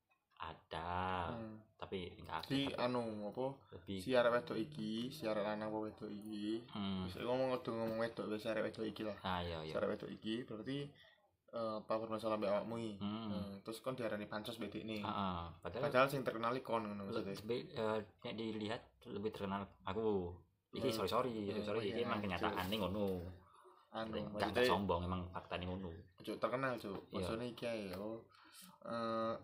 Speaker 1: ada
Speaker 2: hmm.
Speaker 1: tapi enggak
Speaker 2: Si
Speaker 1: aktif tapi
Speaker 2: anu apa?
Speaker 1: lebih
Speaker 2: si arek wedok iki, si arek lanang apa wedok iki.
Speaker 1: hmm.
Speaker 2: Wis ngomong kudu ngomong wedok wis arek wedok iki lah.
Speaker 1: ah yo
Speaker 2: Si
Speaker 1: yo
Speaker 2: arek wedok iki berarti eh apa bermasalah mbek awakmu iki.
Speaker 1: hmm.
Speaker 2: Eh, terus kon diarani pansos mbek nih.
Speaker 1: Ah, ah. padahal
Speaker 2: Padahal sing terkenal iki kon ngono maksudnya.
Speaker 1: lebih eh, nek dilihat lebih terkenal aku ini
Speaker 2: Hmm.
Speaker 1: sorry sorry sorry
Speaker 2: Hmm,
Speaker 1: sorry
Speaker 2: iya,
Speaker 1: ini emang kenyataan nih ngono
Speaker 2: Anu,
Speaker 1: enggak enggak
Speaker 2: maksudnya
Speaker 1: sombong emang fakta nih ngono
Speaker 2: cuk terkenal cuk.
Speaker 1: Iya.
Speaker 2: Maksudnya iki ae yo. Eh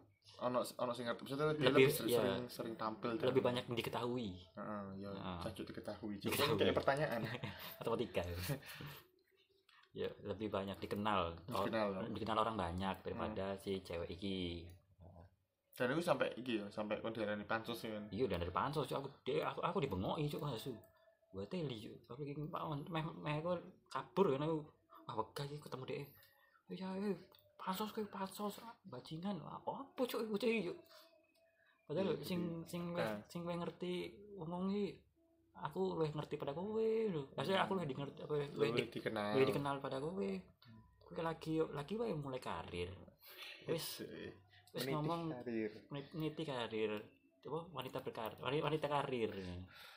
Speaker 2: ono ono sing ngerti maksudnya dia
Speaker 1: Lebih-
Speaker 2: lebih sering
Speaker 1: iya.
Speaker 2: sering, sering tampil dan-
Speaker 1: lebih banyak yang diketahui
Speaker 2: Heeh, ya
Speaker 1: Heeh.
Speaker 2: cocok diketahui. Cuk,
Speaker 1: Diketahui.
Speaker 2: kayak pertanyaan.
Speaker 1: atau tiga ya lebih banyak dikenal Or-
Speaker 2: Dikenal, kan?
Speaker 1: dikenal orang banyak daripada si cewek iki
Speaker 2: Dan itu sampai iki yo, sampai kon diarani pansos iki. kan.
Speaker 1: iya dan dari pansos cuk aku de, aku aku dibengoki cuk asu gue teli cuk aku iki pawon meh meh aku kabur kan aku wah wegah iki ketemu dia iya eh, pansos kowe pansos ah, bajingan apa apa cuk iku cuk cuk. padahal
Speaker 2: Iya,
Speaker 1: sing sing weh
Speaker 2: nah.
Speaker 1: sing weh ngerti ngomong iki aku lebih ngerti pada kowe lho maksudnya aku lebih ngerti apa luwih
Speaker 2: Lebih dikenal.
Speaker 1: Gue dikenal pada gue. Gue lagi lagi wae mulai karir. Wis
Speaker 2: Wis.
Speaker 1: wis
Speaker 2: Meniti
Speaker 1: ngomong
Speaker 2: karir.
Speaker 1: meniti karir. Apa wanita berkarir, wanita, wanita karir.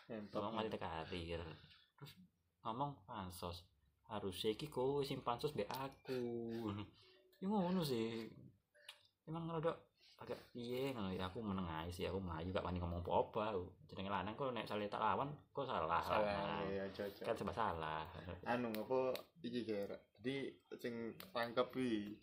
Speaker 2: Mentok.
Speaker 1: Ngomong wanita karir. Terus ngomong pansos. Harusnya iki kowe sing pansos mbek aku. Ya ngono sih. Emang rada agak piye ngono ya aku meneng ae sih aku melayu gak wani ngomong apa-apa. aku. Jenenge lanang kok nek salah tak lawan kok salah.
Speaker 2: salah
Speaker 1: lanang.
Speaker 2: ya cocok
Speaker 1: Kan sebab salah.
Speaker 2: anu apa iki kira jadi sing tangkep iki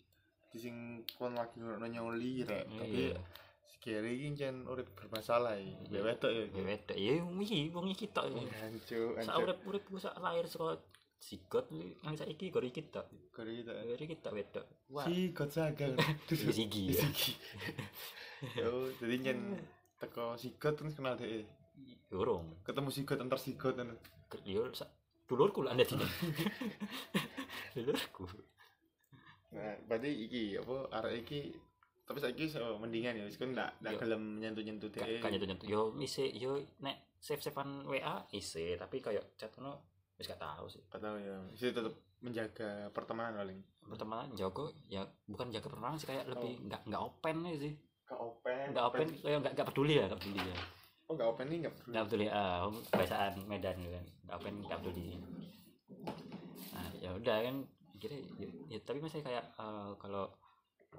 Speaker 2: Jadi sing kon lagi ngono nyoli rek tapi
Speaker 1: Iya.
Speaker 2: sekere iki jen urip bermasalah iki
Speaker 1: Iya.
Speaker 2: mbek wedok ya
Speaker 1: Ya wedok, ya iki wong iki tok. ya.
Speaker 2: hancur
Speaker 1: Sak
Speaker 2: hancur
Speaker 1: urip-urip ku sak lahir saka sigot nang saiki gori iki tok.
Speaker 2: gore kita
Speaker 1: Gori iki tok wedok. Wah,
Speaker 2: si gocagang
Speaker 1: iki sigi ya.
Speaker 2: sigi yo Oh, jadi jen teko sigot terus kenal dhek
Speaker 1: Urung.
Speaker 2: ketemu sigot antar sigot anu
Speaker 1: Ke- Yo sak dulurku lah anda dine. Dulurku.
Speaker 2: nah berarti iki apa arek iki tapi saiki so, mendingan ya wis kan ndak ndak
Speaker 1: Yo.
Speaker 2: gelem nyentuh-nyentuh
Speaker 1: Gak
Speaker 2: dhek
Speaker 1: gak nyentuh-nyentuh. Yo isi yo nek save-savean WA isi, tapi kayak chat ngono wis gak tau sih.
Speaker 2: atau ya sih tetap menjaga pertemanan paling
Speaker 1: Pertemanan jago ya bukan jaga pertemanan sih kayak lebih nggak nggak open aja sih.
Speaker 2: Gak open.
Speaker 1: Nggak open kayak nggak nggak peduli ya, nggak peduli ya.
Speaker 2: Oh, gak open nih gak peduli.
Speaker 1: Nggak peduli ah, om kebiasaan Medan gitu kan. Nggak open nggak peduli. Nah, ya udah kan akhirnya ya, ya, tapi masih kayak eh, kalau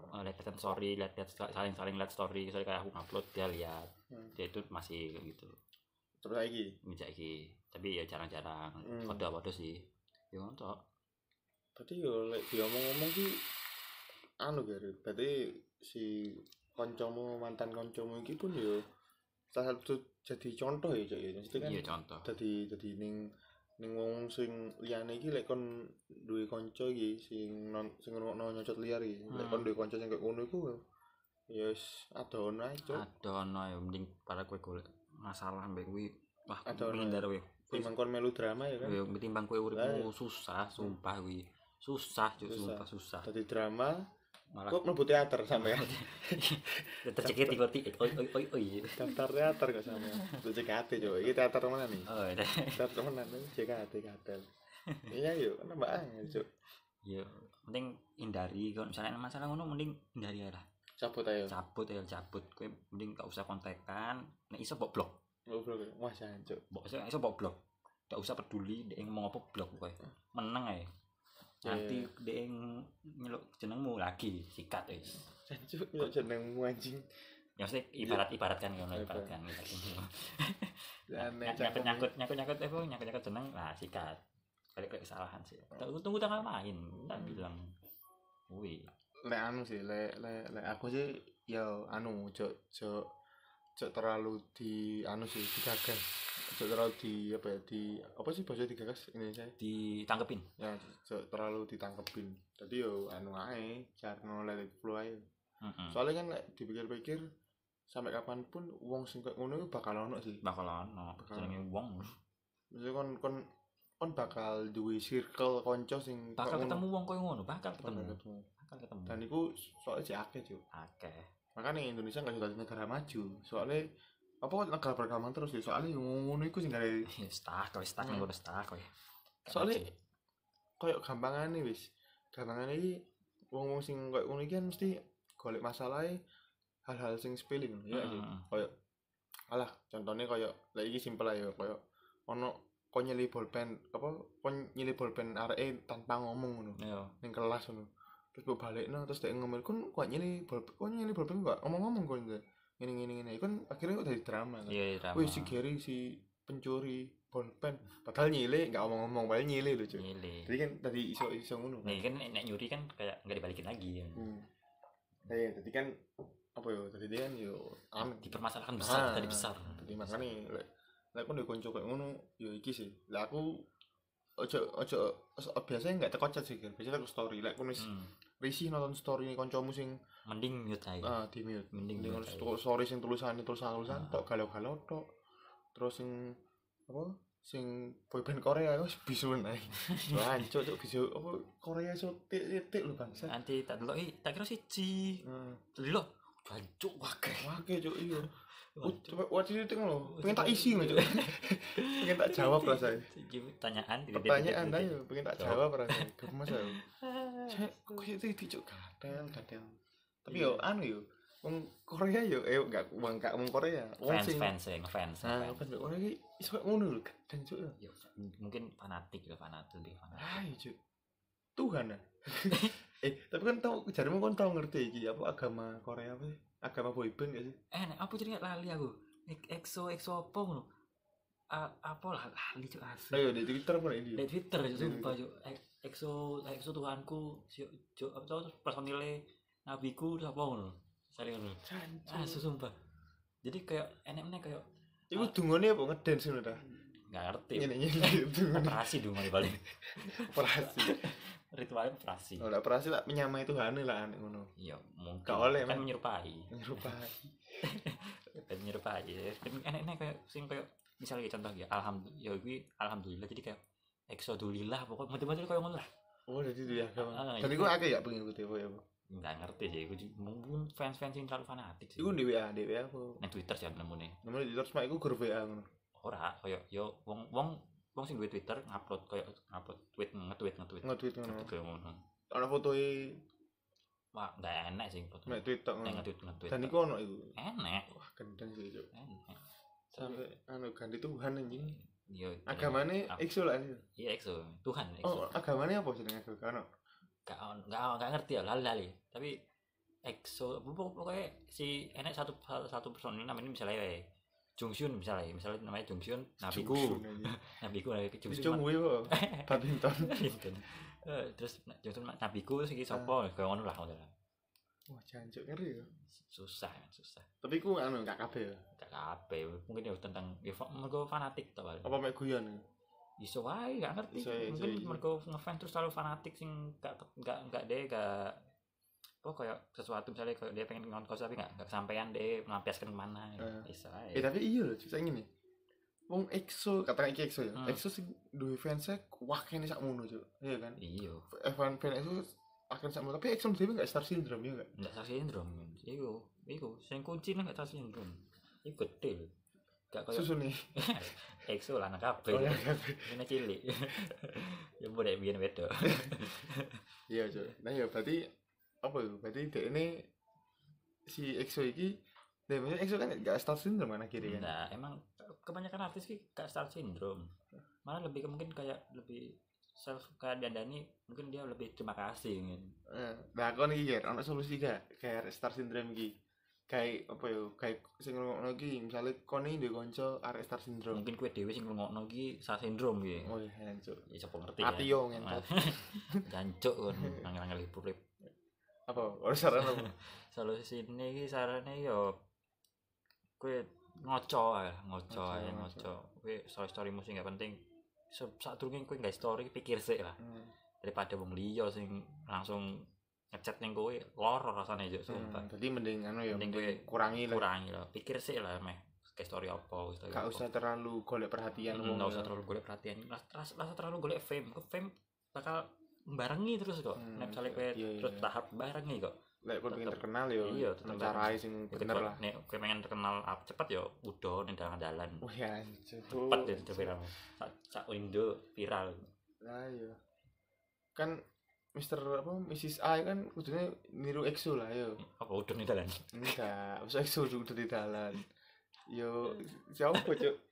Speaker 1: eh, lihat lihat story, lihat lihat saling saling lihat story, misalnya kayak aku upload dia lihat,
Speaker 2: Hmm.
Speaker 1: dia itu masih kayak gitu
Speaker 2: Terus lagi.
Speaker 1: ngejak iki. Tapi ya jarang-jarang.
Speaker 2: Hmm.
Speaker 1: Kode kode sih. Ya untuk
Speaker 2: Berarti yo lek diomong-omong ki anu Gary, berarti si koncomu mantan koncomu iki pun yo salah satu jadi contoh ya Cok ya. Maksudnya kan
Speaker 1: iya contoh.
Speaker 2: jadi jadi ning ning wong sing liyane iki lek kon duwe kanca iki sing non sing ngrungokno nyocot liar iki lek kon
Speaker 1: Hmm.
Speaker 2: duwe kanca sing kayak ngono iku ya wis adon ae cuk
Speaker 1: Aduh no ya mending para kue golek masalah mbek kuwi. Wah,
Speaker 2: Adoh, no,
Speaker 1: menghindar kuwi.
Speaker 2: timbang kon melu drama ya kan
Speaker 1: Yo ketimbang kue uripmu
Speaker 2: ya? Lah, ya.
Speaker 1: susah, sumpah kuwi. Susah, cuk,
Speaker 2: Susah.
Speaker 1: sumpah susah.
Speaker 2: dadi drama
Speaker 1: Malah
Speaker 2: kok mlebu teater sampean
Speaker 1: tercekik tiga tiga. Oi oi oi oi.
Speaker 2: daftar teater gak sama lu JKT coba ini teater mana nih
Speaker 1: Oh,
Speaker 2: teater mana nih JKT katel iya yuk nambah angin cuk
Speaker 1: ya penting hindari kalau misalnya ada masalah ngono mending hindari aja lah
Speaker 2: cabut ayo
Speaker 1: cabut ya cabut kue mending gak usah kontekan nek iso mbok blok
Speaker 2: ngobrol wah jangan cuk
Speaker 1: mbok iso iso mbok blok gak usah peduli dia yang mau apa blok kowe meneng ae nanti dia yang nyeluk jenengmu lagi sikat wis
Speaker 2: Jangan, cuk yuk jenengmu anjing
Speaker 1: ya maksudnya ibarat ibaratkan ngono
Speaker 2: Oke.
Speaker 1: ibaratkan ibaratkan.
Speaker 2: dan
Speaker 1: Ny- nyangkut nyangkut nyangkut nyangkut eh nyangkut nyangkut jeneng lah sikat balik ke kesalahan sih
Speaker 2: Oh.
Speaker 1: tunggu tunggu tanggal main tak
Speaker 2: Hmm.
Speaker 1: bilang wih
Speaker 2: lek anu sih lek lek lek aku sih ya anu cuk cuk cuk terlalu di anu sih digagas cuk terlalu di apa ya di apa sih bahasa digagas Indonesia
Speaker 1: ditanggepin
Speaker 2: ya cuk terlalu ditangkepin tadi yo anu ae jarno let it flow ae
Speaker 1: Mm-mm.
Speaker 2: soalnya kan lek dipikir-pikir sampai kapanpun wong sing kayak ngono iku bakal ono sih
Speaker 1: bakal ono
Speaker 2: Bakal
Speaker 1: nah, jenenge wong
Speaker 2: maksudnya kon kon kon bakal duwe circle kanca sing kayak
Speaker 1: bakal
Speaker 2: ngono.
Speaker 1: ketemu wong koyo ngono bakal
Speaker 2: Bakal
Speaker 1: ketemu
Speaker 2: ketemu
Speaker 1: bakal ketemu
Speaker 2: dan iku soalnya sih akeh cuy
Speaker 1: akeh
Speaker 2: makanya Indonesia nggak jadi negara maju soalnya apa kok negara berkembang terus sih soalnya ngono iku sing dari
Speaker 1: stuck kowe stuck
Speaker 2: Hmm.
Speaker 1: ngono stuck kowe Gak
Speaker 2: soalnya
Speaker 1: maju.
Speaker 2: koyok gampangan nih wis gampangan iki wong wong sing koyok ngono iki kan mesti golek masalahnya hal-hal sing spilling ya
Speaker 1: Mm-mm.
Speaker 2: koyok alah contohnya koyok lah iki simpel aja koyok ono kon nyeli bolpen apa kon nyeli bolpen RE tanpa ngomong ngono
Speaker 1: Yo,
Speaker 2: ning kelas ngono terus gue balik terus dia ngomel kon kok nyeli bolpen kon nyeli bolpen gak ngomong-ngomong kon Ndek. ngene ngene ngene kon akhirnya kok dari drama kan
Speaker 1: iya iya, drama.
Speaker 2: wih si Gary si pencuri bolpen padahal nyile nggak ngomong-ngomong padahal nyile loh cuy
Speaker 1: Milih.
Speaker 2: jadi kan tadi iso iso ngono kan
Speaker 1: Nih kan nek nyuri kan kayak nggak dibalikin lagi ya.
Speaker 2: hmm. Eh, tadi kan apa yo tadi dia kan yo am
Speaker 1: Dipermasalahkan besar
Speaker 2: Ah,
Speaker 1: tadi besar.
Speaker 2: tadi makanya lek lek kon duwe kanca kayak ngono yo iki sih lah aku ojo ojo ojo- biasanya nggak tekocet sih Gary. biasanya aku story lek kon wis
Speaker 1: Hmm.
Speaker 2: risih nonton story kancamu sing
Speaker 1: Mending mute aja.
Speaker 2: ah di mute
Speaker 1: Mending
Speaker 2: dengan
Speaker 1: mute aja.
Speaker 2: story sing tulisan tulisan tulisan
Speaker 1: Iya, Ah.
Speaker 2: tok galau galau tok terus sing apa sing boyband Korea wis bisu nae hancur cuk bisu apa Korea so titik lho bangsa
Speaker 1: Nanti tak delok eh tak kira siji.
Speaker 2: Heeh.
Speaker 1: Delok jancuk akeh.
Speaker 2: wah ke cuk iya
Speaker 1: Wah, Oh,
Speaker 2: Oh, coba wajib titik lho pengen tak
Speaker 1: Cuk.
Speaker 2: isi lho cuk pengen tak jawab rasanya
Speaker 1: Tanyaan
Speaker 2: pertanyaan ayo iya, pengen tak jawab rasanya gemes ayo cek kok itu titik cuk gatel gatel tapi
Speaker 1: Iya.
Speaker 2: yo anu yo wong Korea yo eh enggak wong enggak wong Korea wong
Speaker 1: Fans
Speaker 2: Oh, sing
Speaker 1: fans eh, sing fans.
Speaker 2: Nah,
Speaker 1: fans.
Speaker 2: kan orang ini iso kayak ngono lho, dan cuk.
Speaker 1: Ya, m- mungkin fanatik ya fanatik lebih fanatik.
Speaker 2: Hai, cuk. Tuhan ah. eh, tapi kan tau jarimu kan tau ngerti iki apa agama Korea apa sih? Agama boyband gak sih?
Speaker 1: Eh, nek apa jadi nggak lali aku? Ek- EXO EXO apa ngono? A- apa lah lali cuk asli.
Speaker 2: Ayo di Twitter apa ini?
Speaker 1: Di Twitter
Speaker 2: Di
Speaker 1: sumpah cuk. E- EXO EXO Tuhanku, si- cuk apa tau terus personile nabiku terus apa ngono. Sari ngono. Ah,
Speaker 2: Jancuk.
Speaker 1: sumpah. Jadi kayak enek-enek kayak
Speaker 2: Iku dungone apa ngedance ngono ta?
Speaker 1: nggak ngerti.
Speaker 2: Ngene ngene dungone
Speaker 1: Operasi dong di balik.
Speaker 2: operasi.
Speaker 1: Ritualnya operasi.
Speaker 2: Ora operasi tak menyamai Tuhan lah anek ngono.
Speaker 1: Iya, mungkin.
Speaker 2: Oh. Nggak oleh,
Speaker 1: kan
Speaker 2: Mas.
Speaker 1: menyerupai.
Speaker 2: Menyerupai.
Speaker 1: dan nyerupai ya tapi enak-enak kayak sing kayak misalnya contoh ya alhamdulillah ya gue alhamdulillah jadi kayak eksodulillah pokoknya macam-macam kayak ngono lah
Speaker 2: Oh, jadi itu agama.
Speaker 1: Ah,
Speaker 2: Tapi
Speaker 1: itu.
Speaker 2: gua akeh ya pengikut apa ya.
Speaker 1: nggak ngerti sih gue ju- mungkin fans-fans yang terlalu fanatik sih
Speaker 2: Iku di WA, di WA aku.
Speaker 1: Nang Twitter sih aku nemu nih
Speaker 2: Nomor di Twitter sama iku grup WA ngono.
Speaker 1: ora kayak yo wong wong wong sing duwe Twitter ngupload kayak ngupload tweet nge-tweet nge-tweet
Speaker 2: Nge-tweet ngono.
Speaker 1: nge-tweet kayak ngono
Speaker 2: Ana fotoe
Speaker 1: wah nggak enak sih foto
Speaker 2: mek Twitter
Speaker 1: Eh,
Speaker 2: ngono.
Speaker 1: nge-tweet nge-tweet
Speaker 2: Dan iku ono iku.
Speaker 1: enak
Speaker 2: Wah, gendeng sih, Cuk.
Speaker 1: enak
Speaker 2: Sampai anu ganti Tuhan anjing.
Speaker 1: yo
Speaker 2: Agamane
Speaker 1: Ap-
Speaker 2: ekso lah anjing.
Speaker 1: Iya. iya EXO Tuhan EXO
Speaker 2: Oh, agamane apa kan sih dengan agama?
Speaker 1: gak gak gak ngerti ya lali lali tapi EXO pokok- pokoknya si enek satu satu, satu personil namanya misalnya ya Jungsyun misalnya misalnya namanya Jungsyun nabiku nabiku nabiku
Speaker 2: Dicung
Speaker 1: Jungsyun
Speaker 2: kuwi kok. Badminton.
Speaker 1: Jungsyun. Eh, terus na- Jungsyun ma- nabiku terus iki
Speaker 2: Ah.
Speaker 1: sapa koyo ngono lah ngono lah.
Speaker 2: Wah, jancuk ngeri ya.
Speaker 1: susah men, susah
Speaker 2: Tapi ku anu gak kabeh ya.
Speaker 1: gak kabeh mungkin ya tentang ya fa- mergo fanatik ta Bal.
Speaker 2: Apa mek guyon? ya?
Speaker 1: iso wae gak ngerti
Speaker 2: Iso, iso,
Speaker 1: mungkin
Speaker 2: iso.
Speaker 1: mereka ngefans terus terlalu fanatik sing gak gak gak deh gak apa kayak sesuatu misalnya kayak dia pengen ngongkos tapi gak, gak kesampaian deh melampiaskan kemana ya.
Speaker 2: Eh.
Speaker 1: iso wae
Speaker 2: Eh tapi iya loh, saya gini. Wong EXO, katakan iki EXO ya.
Speaker 1: Hmm.
Speaker 2: EXO sing duwe fansnya wah kene sak ngono, Cuk. Iya kan?
Speaker 1: iyo
Speaker 2: Eh, fan fan EXO akan sak ngono, tapi EXO dhewe enggak star syndrome ya enggak?
Speaker 1: ndak sasi sindrom iku iku sing kunci nang gak sasi sindrom iku gede lho. gak kayak
Speaker 2: Susu nih.
Speaker 1: EXO lah anak kabeh
Speaker 2: Oh, iya,
Speaker 1: ini cilik ya boleh biyen wedok
Speaker 2: Iya, Cuk. Nah, ya berarti apa itu? Berarti dek ini si EXO iki Nah, maksudnya EXO kan enggak star syndrome kan akhirnya kan.
Speaker 1: Nah, emang kebanyakan artis sih kayak star syndrome. Malah lebih ke- mungkin kayak lebih self kayak dandani mungkin dia lebih terima kasih kan. mungkin.
Speaker 2: Eh, Nah, kon iki ya, ono solusi gak kayak star syndrome iki? Kayak apa ya? Kayak sing ngono iki, misale kon iki duwe kanca arek star syndrome.
Speaker 1: Mungkin kue dewe sing ngrungokno iki star syndrome iki.
Speaker 2: Oh iya, Cuk.
Speaker 1: Ya sapa ngerti. ya.
Speaker 2: Ati yo ngentot.
Speaker 1: Jancuk kon nang-nang lipurip.
Speaker 2: apa orang saran apa
Speaker 1: Solusi ini iki sarane yo kue ngoco ae, ngoco
Speaker 2: Ngoco,
Speaker 1: ae,
Speaker 2: ngoco.
Speaker 1: ngoco. Kue story story musik gak penting. Saat durunge kue gak story pikir sik lah.
Speaker 2: Hmm,
Speaker 1: daripada wong liya sing langsung ngechat ning kowe loro rasane juk sumpah
Speaker 2: jadi hmm, mending anu ya
Speaker 1: Mending
Speaker 2: mending
Speaker 1: gue
Speaker 2: kurangi lah
Speaker 1: kurangi lah pikir sih lah meh ke story apa story
Speaker 2: gak
Speaker 1: apa.
Speaker 2: usah terlalu golek perhatian
Speaker 1: Hmm,
Speaker 2: wong
Speaker 1: nggak
Speaker 2: ya.
Speaker 1: usah terlalu golek perhatian Ras- ras- rasa terlalu golek fame ke fame bakal barengi terus kok
Speaker 2: Hmm,
Speaker 1: nek misalnya
Speaker 2: iya,
Speaker 1: kowe
Speaker 2: iya,
Speaker 1: terus
Speaker 2: iya.
Speaker 1: tahap barengi kok
Speaker 2: lek kon pengen
Speaker 1: tetep-
Speaker 2: terkenal ya
Speaker 1: iya, tetep
Speaker 2: carane sing bener lah
Speaker 1: nek kowe pengen terkenal up cepet ya udah ning dalan-dalan
Speaker 2: wah ya
Speaker 1: cepet ya itu viral sak sak window viral
Speaker 2: lah iya kan Mister apa Mrs. A kan kudunya niru EXO lah yo
Speaker 1: apa udah ning dalan
Speaker 2: enggak usah EXO udah di dalan yo siapa cuk